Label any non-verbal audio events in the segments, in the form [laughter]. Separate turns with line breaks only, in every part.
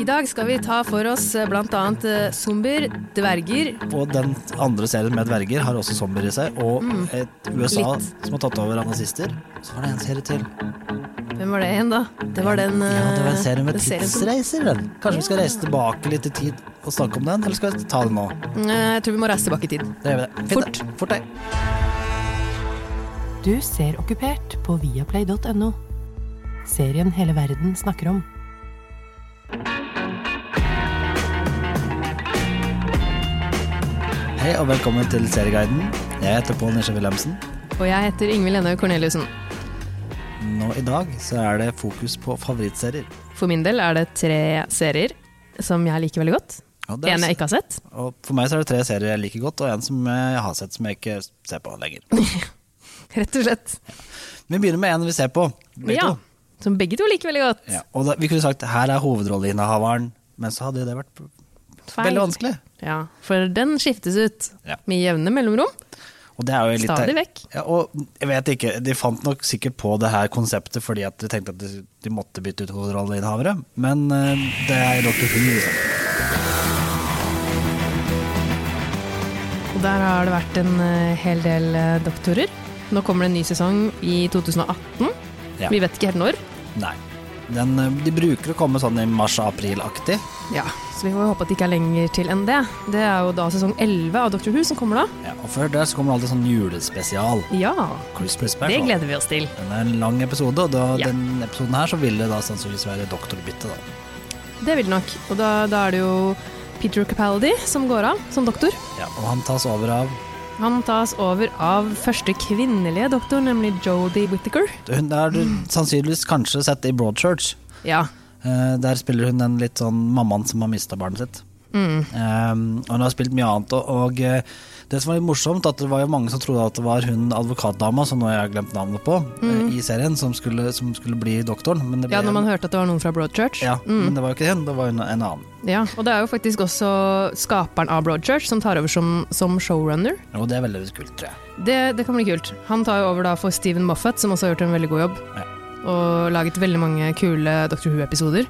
I dag skal vi ta for oss eh, bl.a. zombier, dverger
Og den andre serien med dverger har også zombier i seg, og et USA
Litt.
som har tatt over av nazister. Så var det en serie til.
Hvem var det igjen, da? Det var den
Ja, det var en
eh,
serie med
den serien som-
tidsreiser. Den. Kanskje vi skal reise tilbake litt i tid og snakke om den, eller skal vi ta den nå?
Eh, Jeg tror vi må reise tilbake i tid.
Det gjør vi det. Fint, det. Fort det.
Du ser okkupert på viaplay.no. Serien hele verden snakker om.
Hei og velkommen til Serieguiden. Jeg heter Pål Nisje Wilhelmsen.
Og jeg heter Ingvild Enhaug Corneliussen.
Nå i dag så er det fokus på favorittserier.
For min del er det tre serier som jeg liker veldig godt.
Ja, det er-
En jeg ikke har sett.
Og for meg så er det tre serier jeg liker godt, og en som eh, jeg har sett som jeg ikke ser på lenger.
Rett og slett.
Vi begynner med en vi ser på. begge
Ja,
to.
som begge to liker veldig godt.
Ja, og da, vi kunne sagt her er hovedrolleinnehaveren, men så hadde jo det vært
Feil.
veldig vanskelig.
Ja, for den skiftes ut
Ja.
med jevne mellomrom.
Og det er jo litt,
Stadig vekk.
Ja, og jeg vet ikke, De fant nok sikkert på det her konseptet fordi at de tenkte at de, de måtte bytte ut hovedrolleinnehavere, men eh, det er Dr. Who. liksom.
Og der har det vært en eh, hel del eh, doktorer. Nå kommer det en ny sesong i 2018.
Ja.
Vi vet ikke helt når.
Nei. Den, eh, de bruker å komme sånn i mars-april-aktig.
Ja, Så vi får håpe at det ikke er lenger til enn det. Det er jo da sesong 11 av Dr. Who som kommer da.
Ja, og før det så kommer det alltid sånn julespesial.
Ja,
Christmas
det
special.
gleder vi oss til.
Den er en lang episode, og da,
Ja.
den episoden her så vil det da sannsynligvis være doktorbytte. da.
Det vil det nok. Og da, da er det jo Peter Capaldi som går av som doktor.
Ja, og han tas over av
Han tas over av første kvinnelige doktor, nemlig Jodie Whittaker.
Hun har du sannsynligvis kanskje sett i Broadchurch.
Ja.
Eh, der spiller hun en litt sånn mammaen som har mista barnet sitt.
Mm.
Eh, og hun har spilt mye annet. Og, og eh, det som var litt morsomt, at det var jo mange som trodde at det var hun advokatdama, som nå jeg har glemt navnet på, eh, i serien, som skulle, som skulle bli doktoren. Men det ble
Mm. ja, når man Mm. hørte at det var noen fra Broadchurch.
ja, men det var jo ikke hun, det var en, en annen.
Ja, og det er jo faktisk også skaperen av Broadchurch som tar over som, som showrunner.
Og det er veldig kult, tror jeg.
Det, det kan bli kult. Han tar jo over da for Steven Moffat, som også har gjort en veldig god jobb.
Ja.
Og laget veldig mange kule Dr. Who-episoder.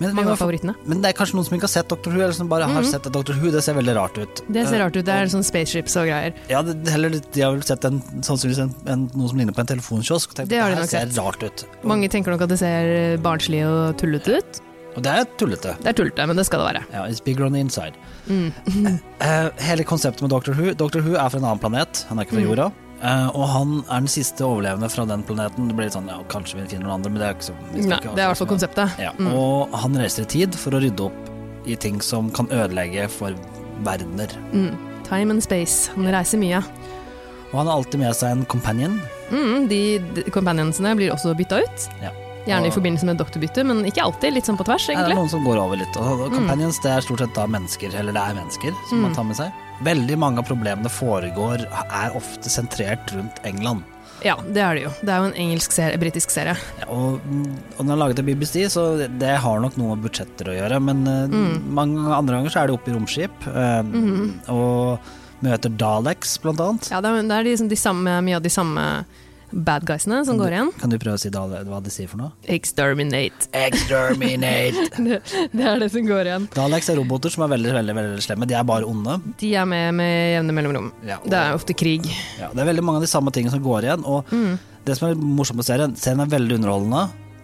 Men,
Mange
men-
av favorittene. Mhm.
men det er kanskje noen som ikke har sett Dr. Who, eller som bare har sett Dr. Who. Det ser veldig rart ut.
Det ser
Eh,
rart ut. Det er sånn spaceships og greier.
Ja, det, heller, litt- de har vel sett en, sannsynligvis en, en, noe som ligner på en telefonkiosk. Tenkt,
Det har de
her
nok
ser
sett.
rart ut. Og,
Mange tenker nok at det ser eh, barnslig og tullete ut.
og det er tullete.
Det er tullete, men det skal det være.
Ja, it's bigger on the inside. Eh, eh, hele konseptet med Dr. Who Dr. Who er fra en annen planet, han er
Mm.
ikke fra jorda. Eh, og han er den siste overlevende fra den planeten. Det blir litt sånn, ja, Kanskje vi finner noen andre, men det er ikke så vi skal
Nei,
ikke ha
det er i
så
hvert fall
mye.
konseptet. Mm.
Ja, Og han reiser i tid for å rydde opp i ting som kan ødelegge for verdener.
Mm. Time and space. Han reiser mye.
Og han har alltid med seg en companion.
Mm, de, de companionsene blir også bytta ut.
Ja.
Gjerne i
Og-
forbindelse med doktorbytte, men ikke alltid. Litt sånn på tvers,
Ja, Det er
egentlig. Mm.
noen som går over litt. Og og companions det er stort sett da mennesker, eller det er mennesker som man tar med seg. Veldig mange av problemene foregår er ofte sentrert rundt England.
Ja, det er det jo. Det er jo en engelsk serie, britisk serie.
Ja, Og, og den er laget av BBC, så det har nok noe med budsjetter å gjøre. Men eh,
Mm.
mange andre ganger så er de oppe i romskip eh,
Mm-hmm.
og møter Daleks, blant annet.
Ja, det er, det er liksom de samme, mye av de samme bad guysene som går igjen.
Kan du prøve å si Dale, hva de sier for noe?
Exterminate.
Exterminate!
Det, [laughs] det er det som går igjen.
[laughs] Daleks er roboter som er veldig, veldig, veldig slemme. De er bare onde.
De er med med jevne mellomrom.
Ja, og-
Det er ofte krig. Mm,
Ja, det er veldig mange av de samme tingene som går igjen. Og det som er morsomt med serien, serien er veldig underholdende,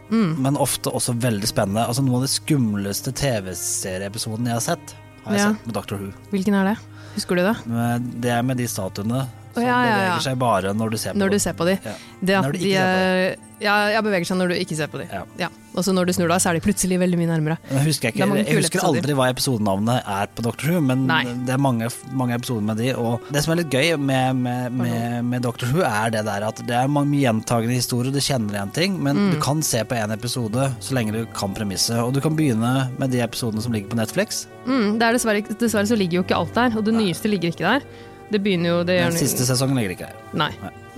mm.
men ofte også veldig spennende. Altså Noen av de skumleste TV-serieepisodene jeg har sett, har jeg
Ja.
sett med Dr. Who.
Hvilken er det? Husker du det?
Men Det er med de statuene som
Å, ja, ja, ja.
beveger seg bare når du ser på
Når du
dem.
ser på de.
Ja.
Det at
Når du ikke
de
ser på
er, ja, jeg beveger seg når du ikke ser på de.
Ja.
Ja. Og så når du snur deg, så er de plutselig veldig mye nærmere.
Men Jeg husker,
Det er
ikke,
mange
jeg
kule
husker
episoder.
aldri hva episodenavnet er på Dr. Who, men
Nei.
det er mange, mange episoder med de. Og det som er litt gøy med, med, med, med Dr. Who, er det der at det er mange gjentagende historier, du kjenner igjen ting, men
Mm.
du kan se på én episode så lenge du kan premisset. Og du kan begynne med de episodene som ligger på Netflix.
Mm, det er dessverre, ikke- dessverre så ligger jo ikke alt der, og det nyeste ligger ikke der. Det begynner jo det
Den
gjør-
siste sesongen ligger ikke der.
Nei.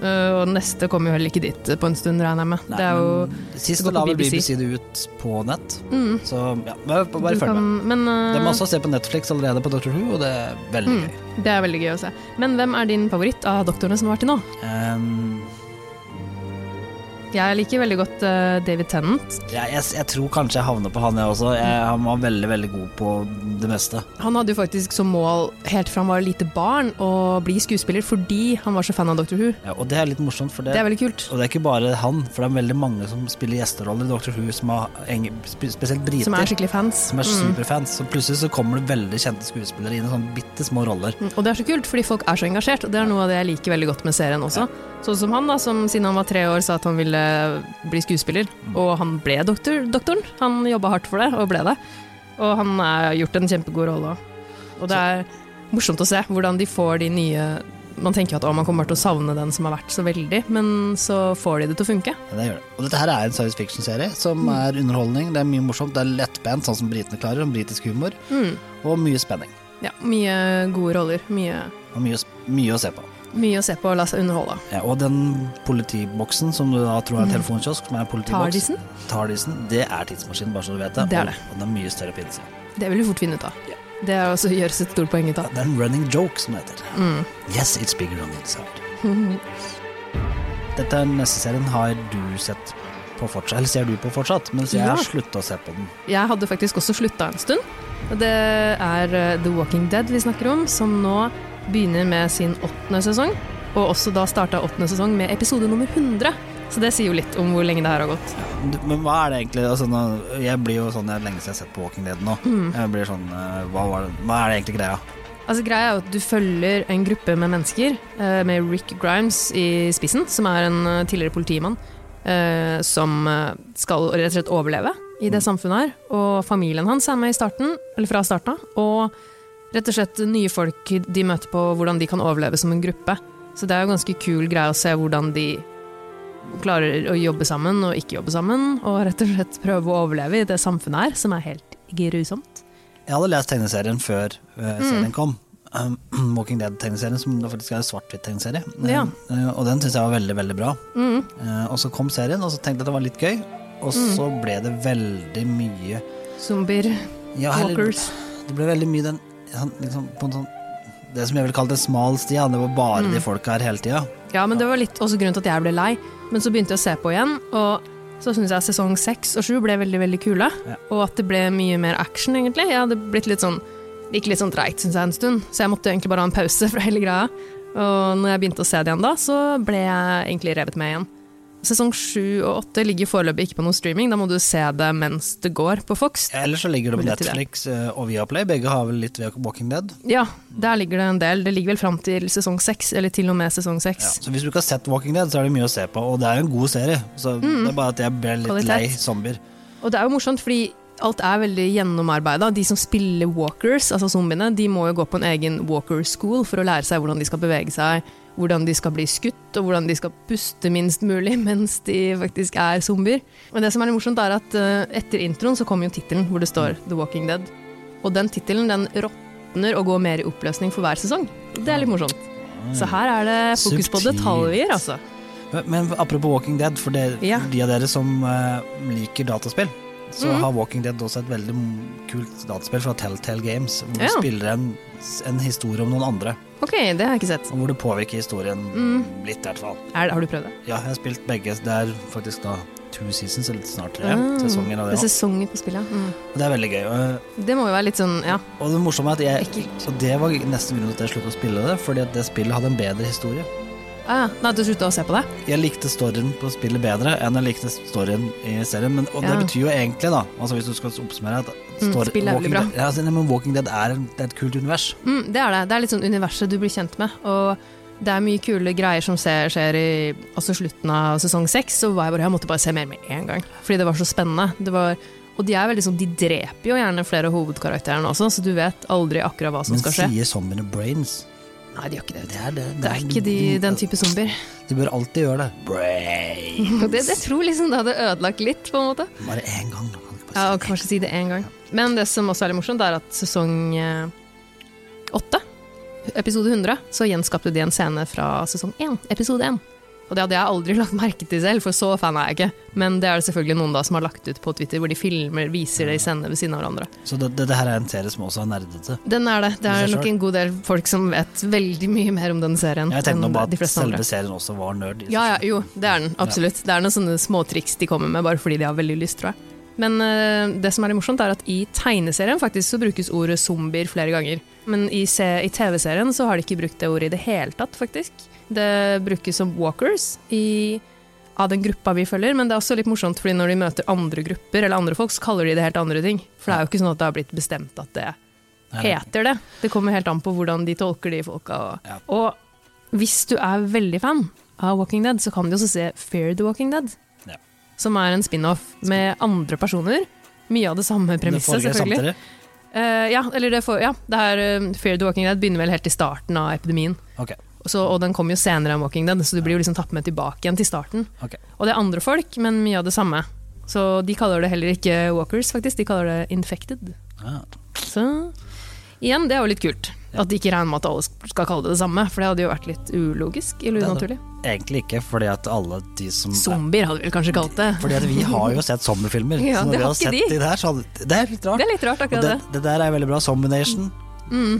Uh, og neste kommer jo heller ikke dit på en stund, regner jeg med.
Nei,
det er jo
Sist
det går
la
på
vel
BBC.
BBC det ut på nett, så ja, bare, Mm. bare
du
følg med.
kan- Men, uh,
Det er masse å se på Netflix allerede på Dr. Who, og det er veldig
Mm.
gøy.
Det er veldig gøy å se. Men hvem er din favoritt av doktorene som har vært til nå?
Ehm,
Jeg liker veldig godt eh, David Tennant.
Jeg, jeg, jeg tror kanskje jeg havner på han, jeg også. Jeg,
Mm.
han var veldig, veldig god på det meste.
Han hadde jo faktisk som mål helt fra han var lite barn å bli skuespiller fordi han var så fan av Dr. Who.
Ja, og det er litt morsomt, for det,
Det er veldig kult.
og det er ikke bare han, for det er veldig mange som spiller gjesteroller i Doctor Who, som har eng- spe- spesielt briter,
Som er skikkelig Mm. fans.
som er superfans. Så plutselig så kommer det veldig kjente skuespillere inn i sånne bitte små roller.
Mm, Og det er så kult, fordi folk er så engasjert, og det er noe av det jeg liker veldig godt med serien også. Sånn som han, da, som siden han var tre år sa at han ville bli skuespiller, og han ble doktor, doktoren. Han jobba hardt for det, og ble det. Og han har gjort en kjempegod rolle òg. Og det er morsomt å se hvordan de får de nye Man tenker jo at å, man kommer til å savne den som har vært så veldig, men så får de det til å funke.
Ja, det gjør det. Og dette her er en science fiction-serie som
Mm.
er underholdning. Det er mye morsomt, det er lettbent, sånn som britene klarer, om britisk humor.
Mm.
Og mye spenning.
Ja, mye gode roller. Mye,
Og mye, mye å se på.
mye å se på og la seg underholde.
Ja, og den politiboksen som du da tror er en telefonkiosk, som er en politiboks
Mm. Tardisen?
Tardisen, det er tidsmaskinen, bare så du vet det.
Det er
Og-
det.
Og den er mye større pinse.
Det vil vi fort finne ut av.
Ja.
Det er også gjøres et stort poeng ut av. Mm.
Det er en running joke, som det heter.
[laughs]
Yes, it's bigger on the inside. Dette er den neste serien har du sett på fortsatt, eller ser du på fortsatt, mens jeg
Ja.
har sluttet å se på den.
Jeg hadde faktisk også slutta en stund. Og Det er eh, The Walking Dead vi snakker om, som nå begynner med sin åttende sesong. Og også da starta åttende sesong med episode nummer 100. Så det sier jo litt om hvor lenge det her har gått.
Du- Men hva er det egentlig altså, nå- Jeg blir jo sånn, det er lenge siden jeg har sett på Walking Dead nå.
Mm.
Jeg blir sånn, eh, hva, var det, hva er det egentlig greia?
Altså Greia er jo at du følger en gruppe med mennesker, eh, med Rick Grimes i spissen, som er en eh, tidligere politimann, eh, som eh, skal rett og slett overleve i det samfunnet her. Og familien hans er med i starten, eller fra starten av. Og rett og slett nye folk de møter på, hvordan de kan overleve som en gruppe. Så det er jo ganske kul greie å se hvordan de klarer å jobbe sammen og ikke jobbe sammen, og rett og slett prøve å overleve i det samfunnet her, som er helt grusomt.
Jeg hadde lest tegneserien før eh,
Mm.
serien kom. Um, [clears throat] Walking Dead-tegneserien, som faktisk er en svart-hvitt-tegneserie.
Ja.
Eh, og den syns jeg var veldig, veldig bra. Eh, og så kom serien, og så tenkte jeg at det var litt gøy. Og
Mm.
så ble det veldig mye
Zombier,
ja, heller-
walkers.
Det ble veldig mye den sånn, liksom, på en sånn, Det som jeg ville kalt en smal sti. ja, Det var bare
Mm.
de folka her hele tida.
Ja, men det var litt også grunnen til at jeg ble lei. Men så begynte jeg å se på igjen, og så syns jeg sesong seks og sju ble veldig veldig kule. Og at det ble mye mer action, egentlig. Jeg hadde blitt litt sånn Det gikk litt sånn treigt, syns jeg, en stund. Så jeg måtte egentlig bare ha en pause [laughs] fra hele greia. Og når jeg begynte å se det igjen da, så ble jeg egentlig revet med igjen. Sesong sju og åtte ligger foreløpig ikke på noe streaming. Da må du se det mens det går på Fox.
Ellers så ligger det på
Litt i det.
Netflix eh, og Viaplay. Begge har vel litt ved Walking Dead.
Ja, der ligger det en del. Det ligger vel fram til sesong seks, eller til og med sesong
Ja.
seks.
Så hvis du ikke har sett Walking Dead, så er det mye å se på. Og det er jo en god serie, så det er bare at jeg ble litt
Mm. Kvalitet.
lei zombier.
Og det er jo morsomt, fordi alt er veldig gjennomarbeida. De som spiller walkers, altså zombiene, de må jo gå på en egen walker school for å lære seg hvordan de skal bevege seg, hvordan de skal bli skutt, og hvordan de skal puste minst mulig [laughs] mens de faktisk er zombier. Men det som er litt morsomt, er at eh, etter introen så kommer jo tittelen hvor det står The Walking Dead. Og den tittelen, den råtner og går mer i oppløsning for hver sesong. Det er litt morsomt. Så her er det fokus på
Ah. Subtilt.
detaljer, altså.
Men, men apropos Walking Dead, for det,
Ja.
for de av dere som eh, liker dataspill, så
Mm.
har Walking Dead også et veldig m- kult dataspill fra Telltale Games, hvor
Ja.
du spiller en, en historie om noen andre,
Ok, det har jeg ikke sett.
og hvor det påvirker historien
Mm.
litt, i hvert fall.
Er, har du prøvd det?
Ja, jeg har spilt begge. Det er faktisk da two seasons, eller snart tre
Ah,
sesonger av
Det
det.
er
også.
sesonger på spillet. Mm.
Det er veldig gøy. og-
Det må jo være litt sånn, ja.
Og det morsomme er at jeg
Ekkelt.
Og det var nesten grunnen til at jeg sluttet å spille det, fordi at det spillet hadde en bedre historie.
Ah, ja. Nei, du slutta å se på det?
Jeg likte storyen på spillet bedre enn jeg likte storyen i serien. Men, og det
Ja.
betyr jo egentlig, da, altså hvis du skal oppsummere at
Mm,
story-
spillet er veldig
Walking,
bra.
Dead, ja, altså, nei, men Walking Dead er, en- det er et kult univers.
Mm, det er det. Det er litt sånn universet du blir kjent med. Og det er mye kule greier som ser, skjer i altså slutten av sesong seks. Så var jeg bare, jeg måtte bare se mer med en gang, fordi det var så spennende. Det var, og de er veldig sånn, de dreper jo gjerne flere av hovedkarakterene også, så du vet aldri akkurat hva som
Men
skal skje.
sier zombiene brains?
Nei, de gjør ikke det. vet du.
Det er det. Mm, altså,
Det er ikke de, den type zombier.
De bør alltid
[laughs]
gjøre det. Brains.
Og Det, jeg tror liksom det hadde ødelagt litt, på en måte.
Bare én gang. da, kan du ikke
Ja,
bare
og kanskje si det én gang. Men det som også er litt morsomt, er at sesong eh, åtte, episode 100, så gjenskapte de en scene fra sesong én, episode én. Og det hadde jeg aldri [laughs] lagt merke til selv, for så fan er jeg ikke. Men det er det selvfølgelig noen da som har lagt ut på Twitter, hvor de filmer, viser det i scene ved siden av hverandre.
Så det, det, det her er en serie som også er nerdete.
Den er det. Det
I
er
seg
nok en god del folk som vet veldig mye mer om den serien
Jeg tenkte nå
enn
bare
Mm, de
at
fleste andre.
selve serien også var nerd. i seg
Ja, ja,
selv.
jo, det er den. Absolutt. Det er noen sånne småtriks de kommer med bare fordi de har veldig lyst, tror jeg. Men eh, det som er litt morsomt, er at i tegneserien faktisk så brukes ordet zombier flere ganger. Men i, se- i TV-serien så har de ikke brukt det ordet i det hele tatt, faktisk. Det brukes som walkers i, av den gruppa vi følger, men det er også litt morsomt, fordi når de møter andre grupper eller andre folk, så kaller de det helt andre ting. For det er jo ikke sånn at det har blitt bestemt at det
Nei, nei.
heter det. Det kommer helt an på hvordan de tolker de folka. Og,
Ja.
og hvis du er veldig fan av Walking Dead, så kan du også se Fear the Walking Dead.
Ja.
Som er en spin-off med andre personer. Mye av det samme premisset,
foregår
selvfølgelig.
samtidig.
Eh, ja, eller det får, ja, det her, eh, Fear the Walking Dead begynner vel helt i starten av epidemien.
Ok,
Så, og den kom jo senere enn Walking Dead, så du blir jo liksom tatt med tilbake igjen til starten.
ok.
Og det er andre folk, men mye av det samme. Så de kaller det heller ikke walkers, faktisk. De kaller det infected.
Ah.
Så igjen, det er jo litt kult. At de ikke regner med at alle skal kalle det det samme, for det hadde jo vært litt ulogisk eller
Det hadde-
unaturlig.
Egentlig ikke, fordi at alle de som
Zombier hadde vel kanskje kalt det.
Fordi at vi har jo sett zommerfilmer.
[laughs] Ja,
så når
det
vi
har
har
ikke
sett
de.
de der, så hadde- Det er litt rart.
Det er litt rart,
Og
akkurat
det,
det. Mm.
det der er veldig bra. Zombination.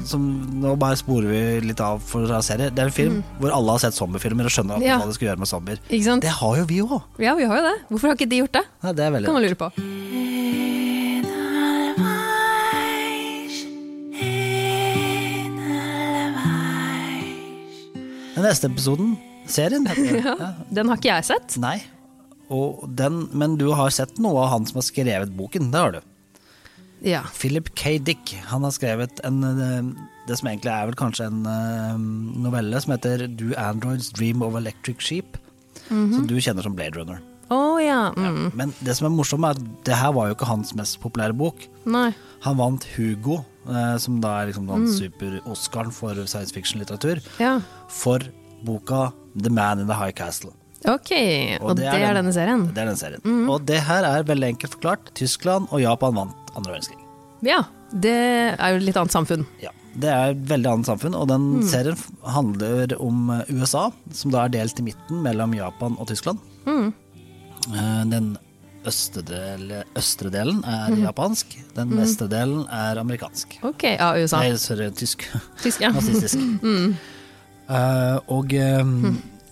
Som, nå bare sporer vi litt av for å serie. Det er en film hvor alle har sett zombiefilmer og skjønner
Mm. Ja.
hva de skal gjøre med zombier.
Ikke sant?
Det har jo vi òg.
Ja, vi har jo det. Hvorfor har ikke de gjort det?
Ja, det er
Det
veldig
kan man lure på.
Den neste episoden, serien,
[laughs]
heter det. Ja.
Den har ikke jeg sett.
Nei. Og den, men du har sett noe av han som har skrevet boken. Det har du.
Ja.
Philip K. Dick. Han har skrevet en, eh, det som egentlig er vel kanskje en eh, novelle som heter Do Androids Dream of Electric Sheep?
Mhm.
Som du kjenner som Blade Runner.
Å ja. Mm.
Men det som er morsomt, er at det her var jo ikke hans mest populære bok.
Nei.
Han vant Hugo, eh, som da er liksom den super-Oscaren for science fiction-litteratur,
Mm. Ja.
for boka The Man in the High Castle.
Ok, og, det, er,
den-
denne serien. Mhm.
Det er denne serien. Og det her er veldig enkelt forklart. Tyskland og Japan vant andre verdenskrig.
Ja. Det er jo et litt annet samfunn.
Ja, Det er et veldig annet samfunn, og den
Mm.
serien f- handler om eh, USA, som da er delt i midten mellom Japan og Tyskland.
Mm.
Eh, Den østre, del, østre delen er japansk, den vestre delen er amerikansk.
Ok, Mm. ja, USA.
Nei, sorry,
[laughs]
tysk. [laughs]
Tysk, ja.
Nazistisk.
Mm.
Eh, og eh,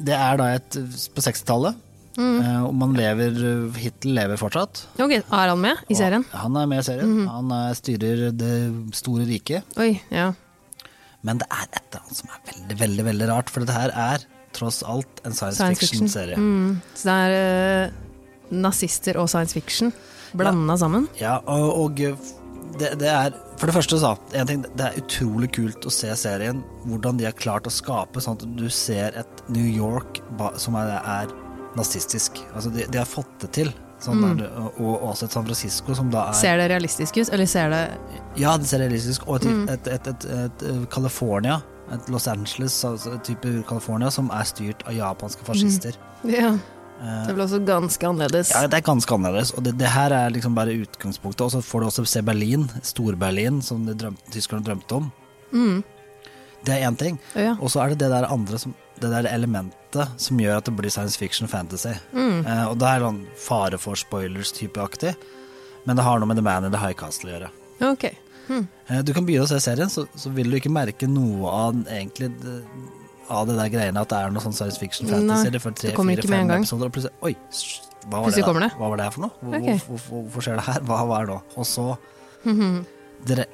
det er da et på 60-tallet,
Mm.
eh, og man lever Hitler lever fortsatt.
Ok, er han med i serien? Mm.
Og Han er med i serien. Han er, styrer det store riket.
Oi, ja.
Men det er et eller annet som er veldig, veldig veldig rart, for dette her er tross alt en science,
Science fiction.
fiction-serie.
Mm. Så det er eh, nazister og science fiction blanda sammen.
Ja, og, og eh, det, det er For det første, sa en ting, det er utrolig kult å se serien. Hvordan de har klart å skape sånn at du ser et New York ba- som er, er nazistisk. Altså, de, de har fått det til. Sånn er det, og, og også et San Francisco som da er
Mm. Ser det realistisk ut, eller ser det
Ja, det ser realistisk Og et,
Mm.
et, et, et, et, eh, California, et Los Angeles, altså et type California, som er styrt av japanske
Mm.
fascister.
Ja. Det ble også ganske annerledes.
Eh. Ja, det er ganske annerledes. Og det, det her er liksom bare utgangspunktet. Og så får du også se Berlin, Stor-Berlin, som de drøm- tyskerne drømte om. Det er én ting.
Mm. Ja.
Og så er det det der andre som, det der elementet som gjør at det blir science fiction fantasy. Eh, og det er sånn fare for spoilers-typeaktig, men det har noe med The Man in the High Castle å gjøre.
Ok.
Eh, du kan begynne å se serien, så, så vil du ikke merke noe av den- egentlig det- av det der greiene at det er noe sånn science fiction
Nei,
fantasy det for tre,
det kommer
fire,
ikke med
fem
en gang.
episoder, og plutselig Oi, sh- hva var,
Plutselig
det,
kommer
da?
det.
hva var det her for noe? Hvor,
Ok.
hvor, hvor, hvorfor skjer det her? Hva, hva er det nå? Og
[laughs]
så dre,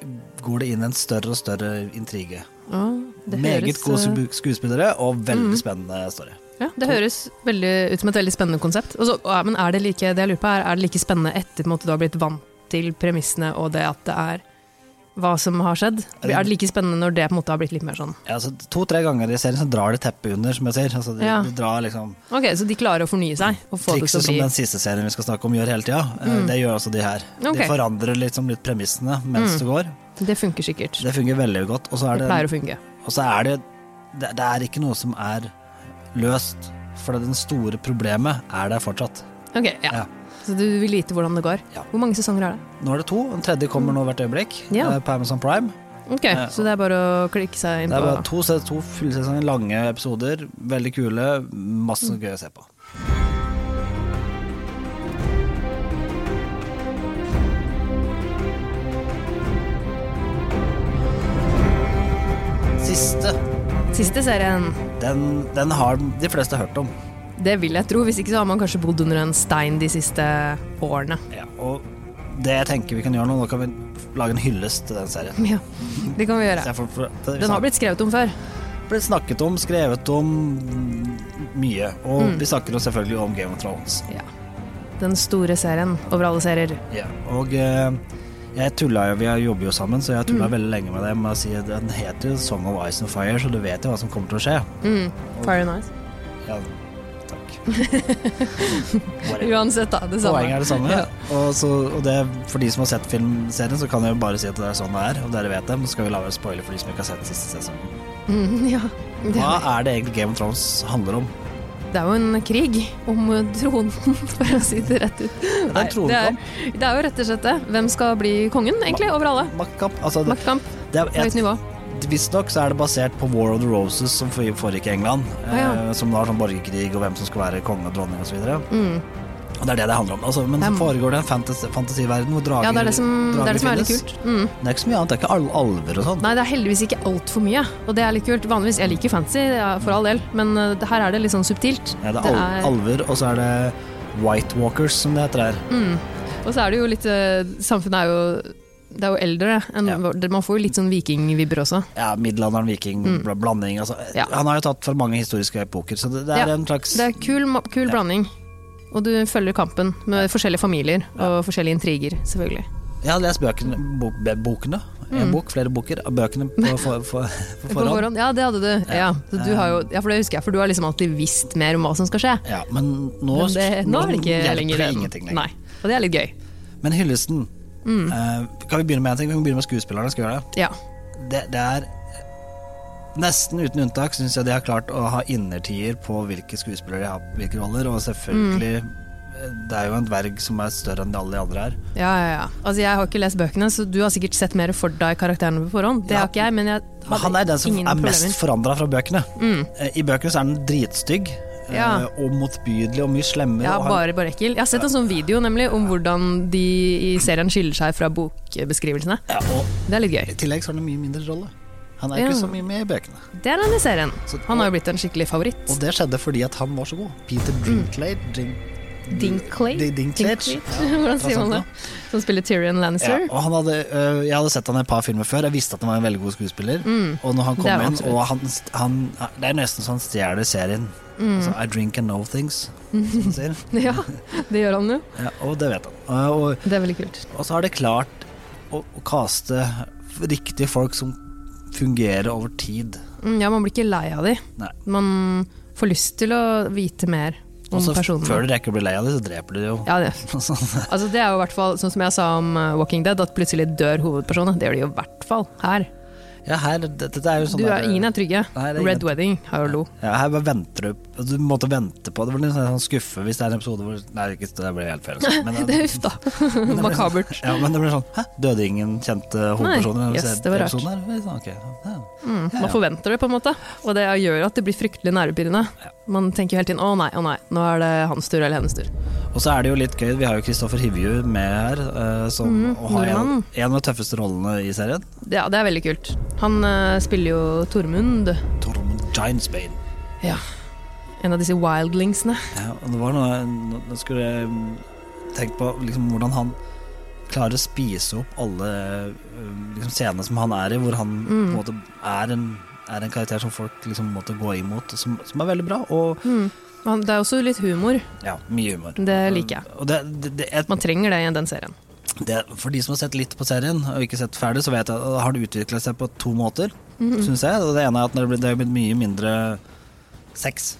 går det inn en større og større intrige.
Ja, det
Meget
høres,
gode
eh, Mhm.
sku- skuespillere og veldig spennende story.
ja, det høres veldig, ut som et veldig spennende konsept. Og så- ja, men er det like, det jeg lurer på er, er det like spennende etter på en måte, du har blitt vant til premissene og det at det er hva som har skjedd?
Er det-
Er det like spennende når det på en måte har blitt litt mer sånn?
Ja, altså, To-tre ganger i serien så drar de teppet under, som jeg sier. Altså, de,
Ja.
de drar liksom
Ok, Så de klarer å fornye seg? Og få det til
Trikset
å
som
bli... Mm.
den siste serien vi skal snakke om gjør hele tida, eh, det gjør også de her.
Ok.
De forandrer liksom litt premissene mens det går.
Det funker sikkert. Det,
Det fungerer veldig godt. Og så er det,
pleier å funke.
og så er det, det Det er ikke noe som er løst, for det den store problemet er der fortsatt.
Ok, ja.
Ja.
Så du vil vite hvordan det går?
Ja.
Hvor mange sesonger er det?
Nå er det to, den tredje kommer nå hvert øyeblikk
Mm. Ja.
eh, på Amazon Prime.
Ok,
Ja.
Så det er bare å klikke seg
Det
inn
er
på
bare to, se- to fullsesonger lange episoder. Veldig kule. Masse gøy å se på. Siste.
Siste serien.
Den, den har de fleste hørt om.
Det vil jeg tro. Hvis ikke så har man kanskje bodd under en stein de siste årene. [laughs]
Ja, og det jeg tenker vi kan gjøre nå, nå kan vi lage en hyllest til den serien.
Ja, det kan vi
Så
gjøre.
jeg får- for- det-
Den har blitt skrevet om før.
blitt snakket om, skrevet om mye. Og
Mm.
vi snakker jo selvfølgelig om Game of Thrones.
Den store serien over alle serier.
Ja, Og eh, jeg tulla jo, vi jobber jo sammen, så jeg
Mm.
tulla veldig lenge med det med å si at den heter jo Song of Ice and Fire, så du vet jo hva som kommer til å skje.
Mm. Fire and Ice.
Ja,
[laughs]
takk.
Uansett, da. Det
Poenget
samme.
er det samme. Og, så, og det, for de som har sett filmserien, så kan jeg jo bare si at det er sånn det er, og dere vet det, men så skal vi lage en spoiler for de som ikke har sett siste sesongen.
Mm, ja.
Hva er det egentlig Game of Thrones handler om?
Det er jo en krig om eh, tronen, [laughs] for å si det rett ut.
Det er
Nei,
en
det,
tronekamp.
er, det er jo rett og slett det. Hvem skal bli kongen, egentlig? Over alle.
Maktkamp. Altså, det,
Maktkamp.
det er, jeg,
Høyt nivå.
Visstnok så er det basert på War of the Roses som for- foregikk i England.
Ah, ja.
eh, Som var sånn borgerkrig og hvem som skulle være konge og dronning osv. Og,
Mm.
så og det er det det handler om. Altså, men så
Mm.
foregår det en fantas fantasiverden hvor drager
Ja, det er det som, det er, det som er litt
finnes.
kult. Mm.
Det er ikke så mye annet. Det er ikke al alver og sånn.
Nei, det er heldigvis ikke altfor mye, og det er litt kult. Vanligvis, Jeg liker fancy, ja, for all del, men eh, det- her er det litt sånn subtilt.
Ja, det er al alver, og så er det White Walkers, som det heter her.
Mm. Og så er det jo litt eh, Samfunnet er jo det er jo eldre. enn
Ja.
vår- Man får jo litt sånn vikingvibber også.
Ja, Middelalderen, viking, bla- blanding altså.
Mm. Ja.
Han har jo tatt fra mange historiske epoker, så det, det er
Ja,
en slags
Det er kul, ma- kul
Ja.
blanding. Og du følger kampen med forskjellige familier og forskjellige intriger, selvfølgelig.
Jeg har lest bøkene, bok, bokene. En bok, flere boker. Bøkene
[laughs]
på, for, for, på
Mm. På
forhånd.
forhånd? Ja, det hadde du. Ja. Så du har jo,
Eh.
ja, for det husker jeg, for du har liksom alltid visst mer om hva som skal skje.
Ja, men
Men
nå,
det, nå er det ikke
hjelper
lenger en-
ingenting lenger.
Nei. Mm. Og det er litt gøy.
Men hyllesten eh, Kan vi begynne med en ting? Vi kan begynne med skuespillerne. Skal vi gjøre det?
Ja.
Det, det er Nesten uten unntak syns jeg de har klart å ha innertier på hvilke skuespillere de har hvilke roller, og selvfølgelig eh, Det er jo en dverg som er større enn alle de andre her.
Mm. Ja, ja, ja. Altså, jeg har ikke lest bøkene, så du har sikkert sett mer for deg karakterene på forhånd. Det
Ja.
har ikke jeg, men jeg hadde
Han er den som
ingen
er mest
problemer. Mm.
forandra fra bøkene. Eh, I bøkene så er han dritstygg eh,
Ja.
og motbydelig og mye slemmere.
Ja,
og han-
bare, bare ekkel. Jeg har sett en sånn video nemlig om hvordan de i serien skiller seg fra bokbeskrivelsene.
ja, og
Det er litt
I
gøy.
tillegg så har han en mye mindre rolle. Han er ikke
Ja.
så mye med i bøkene.
Det er han i serien.
Så-
Han har jo blitt en skikkelig favoritt.
Og det skjedde fordi at han var så god. Peter Dinklage Din-
Mm. Dinklage?
Din- Dinklage.
Dinklage? [laughs] Hvordan sier man det? Som spiller Tyrion
Ja,
Lannister.
og han hadde, øh, jeg hadde sett han i et par filmer før. Jeg visste at han var en veldig god skuespiller. Og når han
Mm. Det er
kom
han
inn,
absolutt.
og han, han Det er nesten så han stjeler serien.
Mm.
Altså, I drink and know things, som han
[laughs]
sier.
[laughs] Ja, det gjør han jo.
Ja, og det vet han. Øh, Og, og,
Det er veldig kult.
og så har de klart å, å kaste riktige folk som fungerer over tid.
Mm, Ja, man blir ikke lei av de.
Nei.
Man får lyst til å vite mer om
Og så
personene.
Altså, før de rekker å bli lei av det, så dreper de det jo.
Ja, det.
[laughs] Sånn.
Altså, det er jo i hvert fall sånn som jeg sa om eh, Walking Dead, at plutselig dør hovedpersonen. Det gjør de jo i hvert fall her.
Ja, her, dette, dette er jo sånn
Du
der-
er, ingen er trygge.
Nei, det er
Red
ingen-
Wedding, hallo.
Ja, her bare venter du altså, Du måtte vente på Det blir litt sånn skuffe hvis det er en episode hvor Nei, ikke, det blir helt feil. altså. Men,
[laughs] Det er huff
[laughs]
da.
men det blir sånn-
Makabert.
Ja, men det blir sånn Hæ, døde ingen kjente hovedpersoner?
Nei,
i
yes, det var rart.
episoden her?» Det er sånn, ok, ja.
Mm,
Ja,
man
ja.
forventer det, på en måte. Og det gjør at det blir fryktelig nervepirrende. Man tenker jo hele tiden 'å nei, å nei, nå er det hans tur eller hennes tur'.
Og så er det jo litt gøy, vi har jo Kristoffer Hivju med her, eh, som og har en,
Mm, nordmannen.
en av de tøffeste rollene i serien.
Det, ja, det er veldig kult. Han eh, spiller jo Tormund,
Tormund Giantsbane.
en av disse wildlingsene.
Ja, og det var noe nå- Nå skulle jeg mm, tenkt på liksom, hvordan han klarer å spise opp alle eh, liksom, scenene som han er i, hvor han
Mm.
på en måte er en, er en karakter som folk liksom måtte gå imot, som, som er veldig bra, og
Han, det er også litt humor.
ja, mye humor.
Mm, Det liker jeg.
Og det, det, det, jeg
Man trenger det i den serien.
det, for de som har sett litt på serien og ikke sett ferdig, så vet jeg at det har det utvikla seg på to måter,
Mm.
synes jeg. Og det ene er at det har blitt- det har blitt mye mindre sex.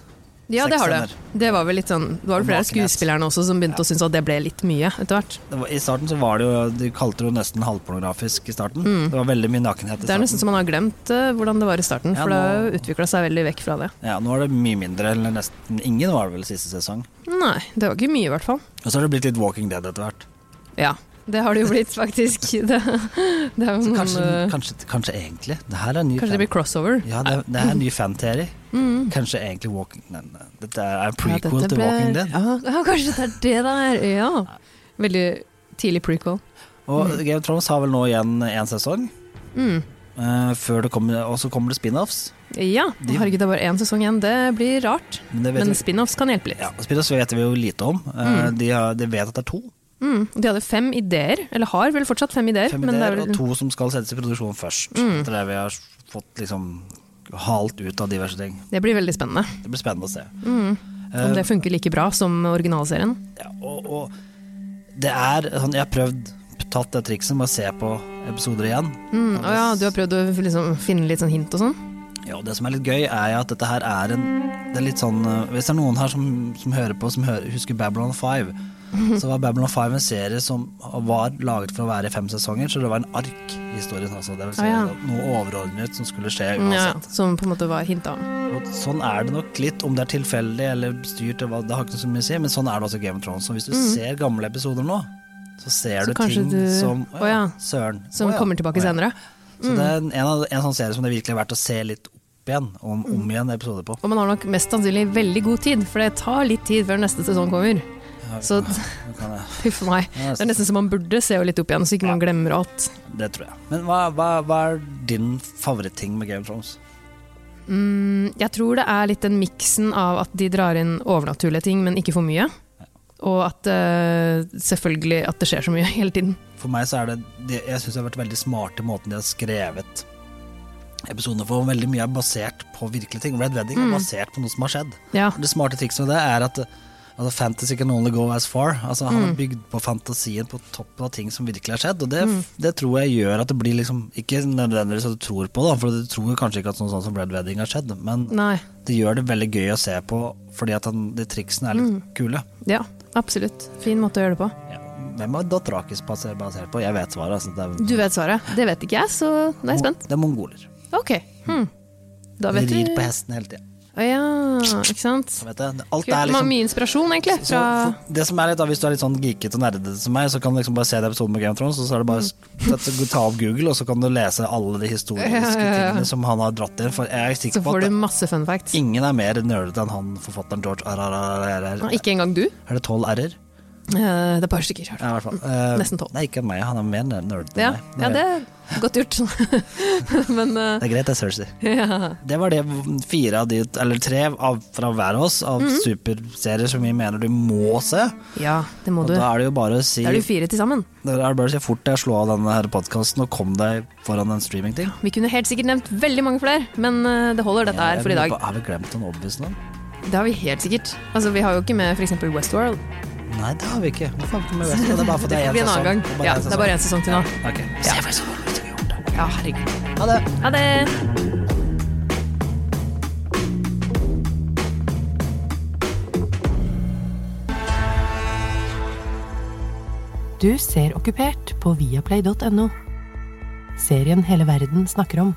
Ja, det har
Sexscener.
du. Det var vel litt sånn Det var vel flere av
Nakenhet.
skuespillerne også som begynte å synes at det ble litt mye etter hvert.
Det var, I starten så var det jo De kalte det jo nesten halvpornografisk i starten. Det var veldig mye nakenhet i
Mm. Det er
starten.
nesten så man har glemt eh, hvordan det var i starten,
Ja,
for det har
nå-
jo utvikla seg veldig vekk fra det.
Ja, nå er det mye mindre, eller nesten ingen var det vel siste sesong.
Nei, det var ikke mye i hvert fall.
Og så har det blitt litt Walking Dead etter hvert.
Ja. det har det jo
[laughs]
blitt, faktisk. Det, det er jo
Så
noen,
kanskje,
eh,
kanskje, kanskje egentlig Det her er en ny
kanskje det blir crossover. Mm.
Ja, det, det er en ny fan-teori. Kanskje egentlig Walking Nei, nei, Dette er en
Ja,
prequel
dette
til
ble-
Walking Dead.
Ja, [laughs] ja, kanskje det er det det er. Ja. Veldig tidlig prequel.
Og Game of Thrones har vel nå igjen én sesong.
Mm.
eh, før det kommer, og så kommer det spin-offs.
Ja,
De-
herregud, det er bare én sesong igjen. Det blir rart.
Men det vet
Men Mm.
vi,
spin-offs kan hjelpe litt.
ja, spin-offs vet vi jo lite om. Eh, de, har, de vet at det er to.
Mm. De hadde fem ideer, eller har vel fortsatt fem ideer.
Fem
men det er
ideer,
vel, Mm.
og to som skal settes i produksjon først. Etter det vi har fått liksom halt ut av diverse ting.
Det blir veldig spennende.
Det blir spennende å se.
Mm.
Eh,
Om det funker like bra som originalserien.
Ja, og, og det er sånn, Jeg har prøvd tatt det trikset med å se på episoder igjen.
Mm, å ja, du har prøvd å liksom finne litt sånn hint og sånn?
Ja, og det som er litt gøy, er jo at dette her er en Det er litt sånn eh, Hvis det er noen her som, som hører på, som hører, husker Babylon 5,
Mhm.
så var Babylon 5 en serie som var laget for å være i fem sesonger, så det var en ark i historien. Altså. Det vil si
Ah, ja.
noe overordnet som skulle skje
Mm, Ja,
uansett.
som på en måte var hinta om.
Og sånn er det nok litt, om det er tilfeldig eller styrt, det var- det har ikke så mye å si, men sånn er det også i Game of Thrones. Så hvis du ser gamle episoder nå, så ser
Mm. Så
du
kanskje
ting
du-
som Å
Å
ja,
ja.
søren.
Som
Å ja,
kommer tilbake
å ja.
senere. Mm.
Så det er en, en, av- en sånn serie som det virkelig er verdt å se litt opp igjen, om,
Mm.
om igjen episoder på.
Og man har nok mest sannsynlig veldig god tid, for det tar litt tid før neste sesong kommer.
Ja,
Så
nå kan jeg-
huff meg.
Ja,
Det er nesten så man burde se jo litt opp igjen, så ikke man glemmer alt.
Det tror jeg. Men hva, hva, hva er din favoritting med Game of Thrones?
Mm, jeg tror det er litt den miksen av at de drar inn overnaturlige ting, men ikke for mye. Og at eh, selvfølgelig at det skjer så mye [laughs] hele tiden.
For meg så er det, det Jeg syns de har vært veldig smarte i måten de har skrevet episodene på. Veldig mye er basert på virkelige ting. Red Wedding
Mm.
er basert på noe som har skjedd.
Ja,
Det smarte trikset med det er at altså, fantasy can only go as far. Altså, han
Mm.
har bygd på fantasien på toppen av ting som virkelig har skjedd. Og det,
Mm.
det tror jeg gjør at det blir liksom Ikke nødvendigvis at du tror på det, da, for du tror kanskje ikke at sånn, sånn som Red Wedding har skjedd, men
nei.
det gjør det veldig gøy å se på fordi at han, de triksene er litt
Mm.
kule.
Ja, absolutt. Fin måte å gjøre det på.
Ja. Hvem er Dothrakis basert basert på? Jeg vet svaret. Altså, det, er,
Du vet svaret. Det vet ikke jeg, så nå er jeg spent.
det er mongoler.
Ok. Hmm. Da
De
vet du
rir på hesten hele tida.
Å ja, ikke sant.
Vet jeg. Alt
Kult.
er
Man har
liksom
mye inspirasjon, egentlig.
så,
Fra
for det som er litt da, Hvis du er litt sånn geekete og nerdete som meg, så kan du liksom bare se den episoden med Game of Thrones, og så er det
Mm.
bare å ta opp Google, og så kan du lese alle de historiske
Ja, ja, ja.
tingene som han har dratt inn. For jeg er
så
sikker på
får
at
du masse fun facts.
ingen er mer nerdete enn han forfatteren George
Ja,
RRR.
Ikke engang du.
Er det tolv r-er?
Eh, Det er et par stykker. har du.
Ja, i hvert fall. Eh,
Nesten 12.
Nei, ikke meg. Han er mer nerdete
Ja,
enn meg.
ja, det er godt gjort. [laughs] Men eh,
Det er greit, det er Cersei.
ja.
Det var det fire av de, eller tre av, fra hver av oss av superserier som vi mener du må se.
ja, det Mhm. må
Og
du.
da
Da
er det jo bare å si
er det jo fire til sammen.
Da er det bare å si fort jeg slå av denne her podkasten og kom deg foran en streamingting.
Vi kunne helt sikkert nevnt veldig mange flere, men eh, det holder dette her for i
Jeg lurer
dag.
på, Har vi glemt en obvious nå?
Det har vi helt sikkert. Altså, Vi har jo ikke med f.eks. Westworld.
Nei, det har vi ikke. Hva faen kommer vi med? Det er bare for
[laughs]
det
Det
er
blir
én
en annen gang.
sesong.
Ja, det er bare én sesong til nå.
sesong. Ok. Se for så godt vi har gjort det.
Ja, herregud.
Ha det.
Ha det!
Du ser Okkupert på viaplay.no. Serien hele verden snakker om.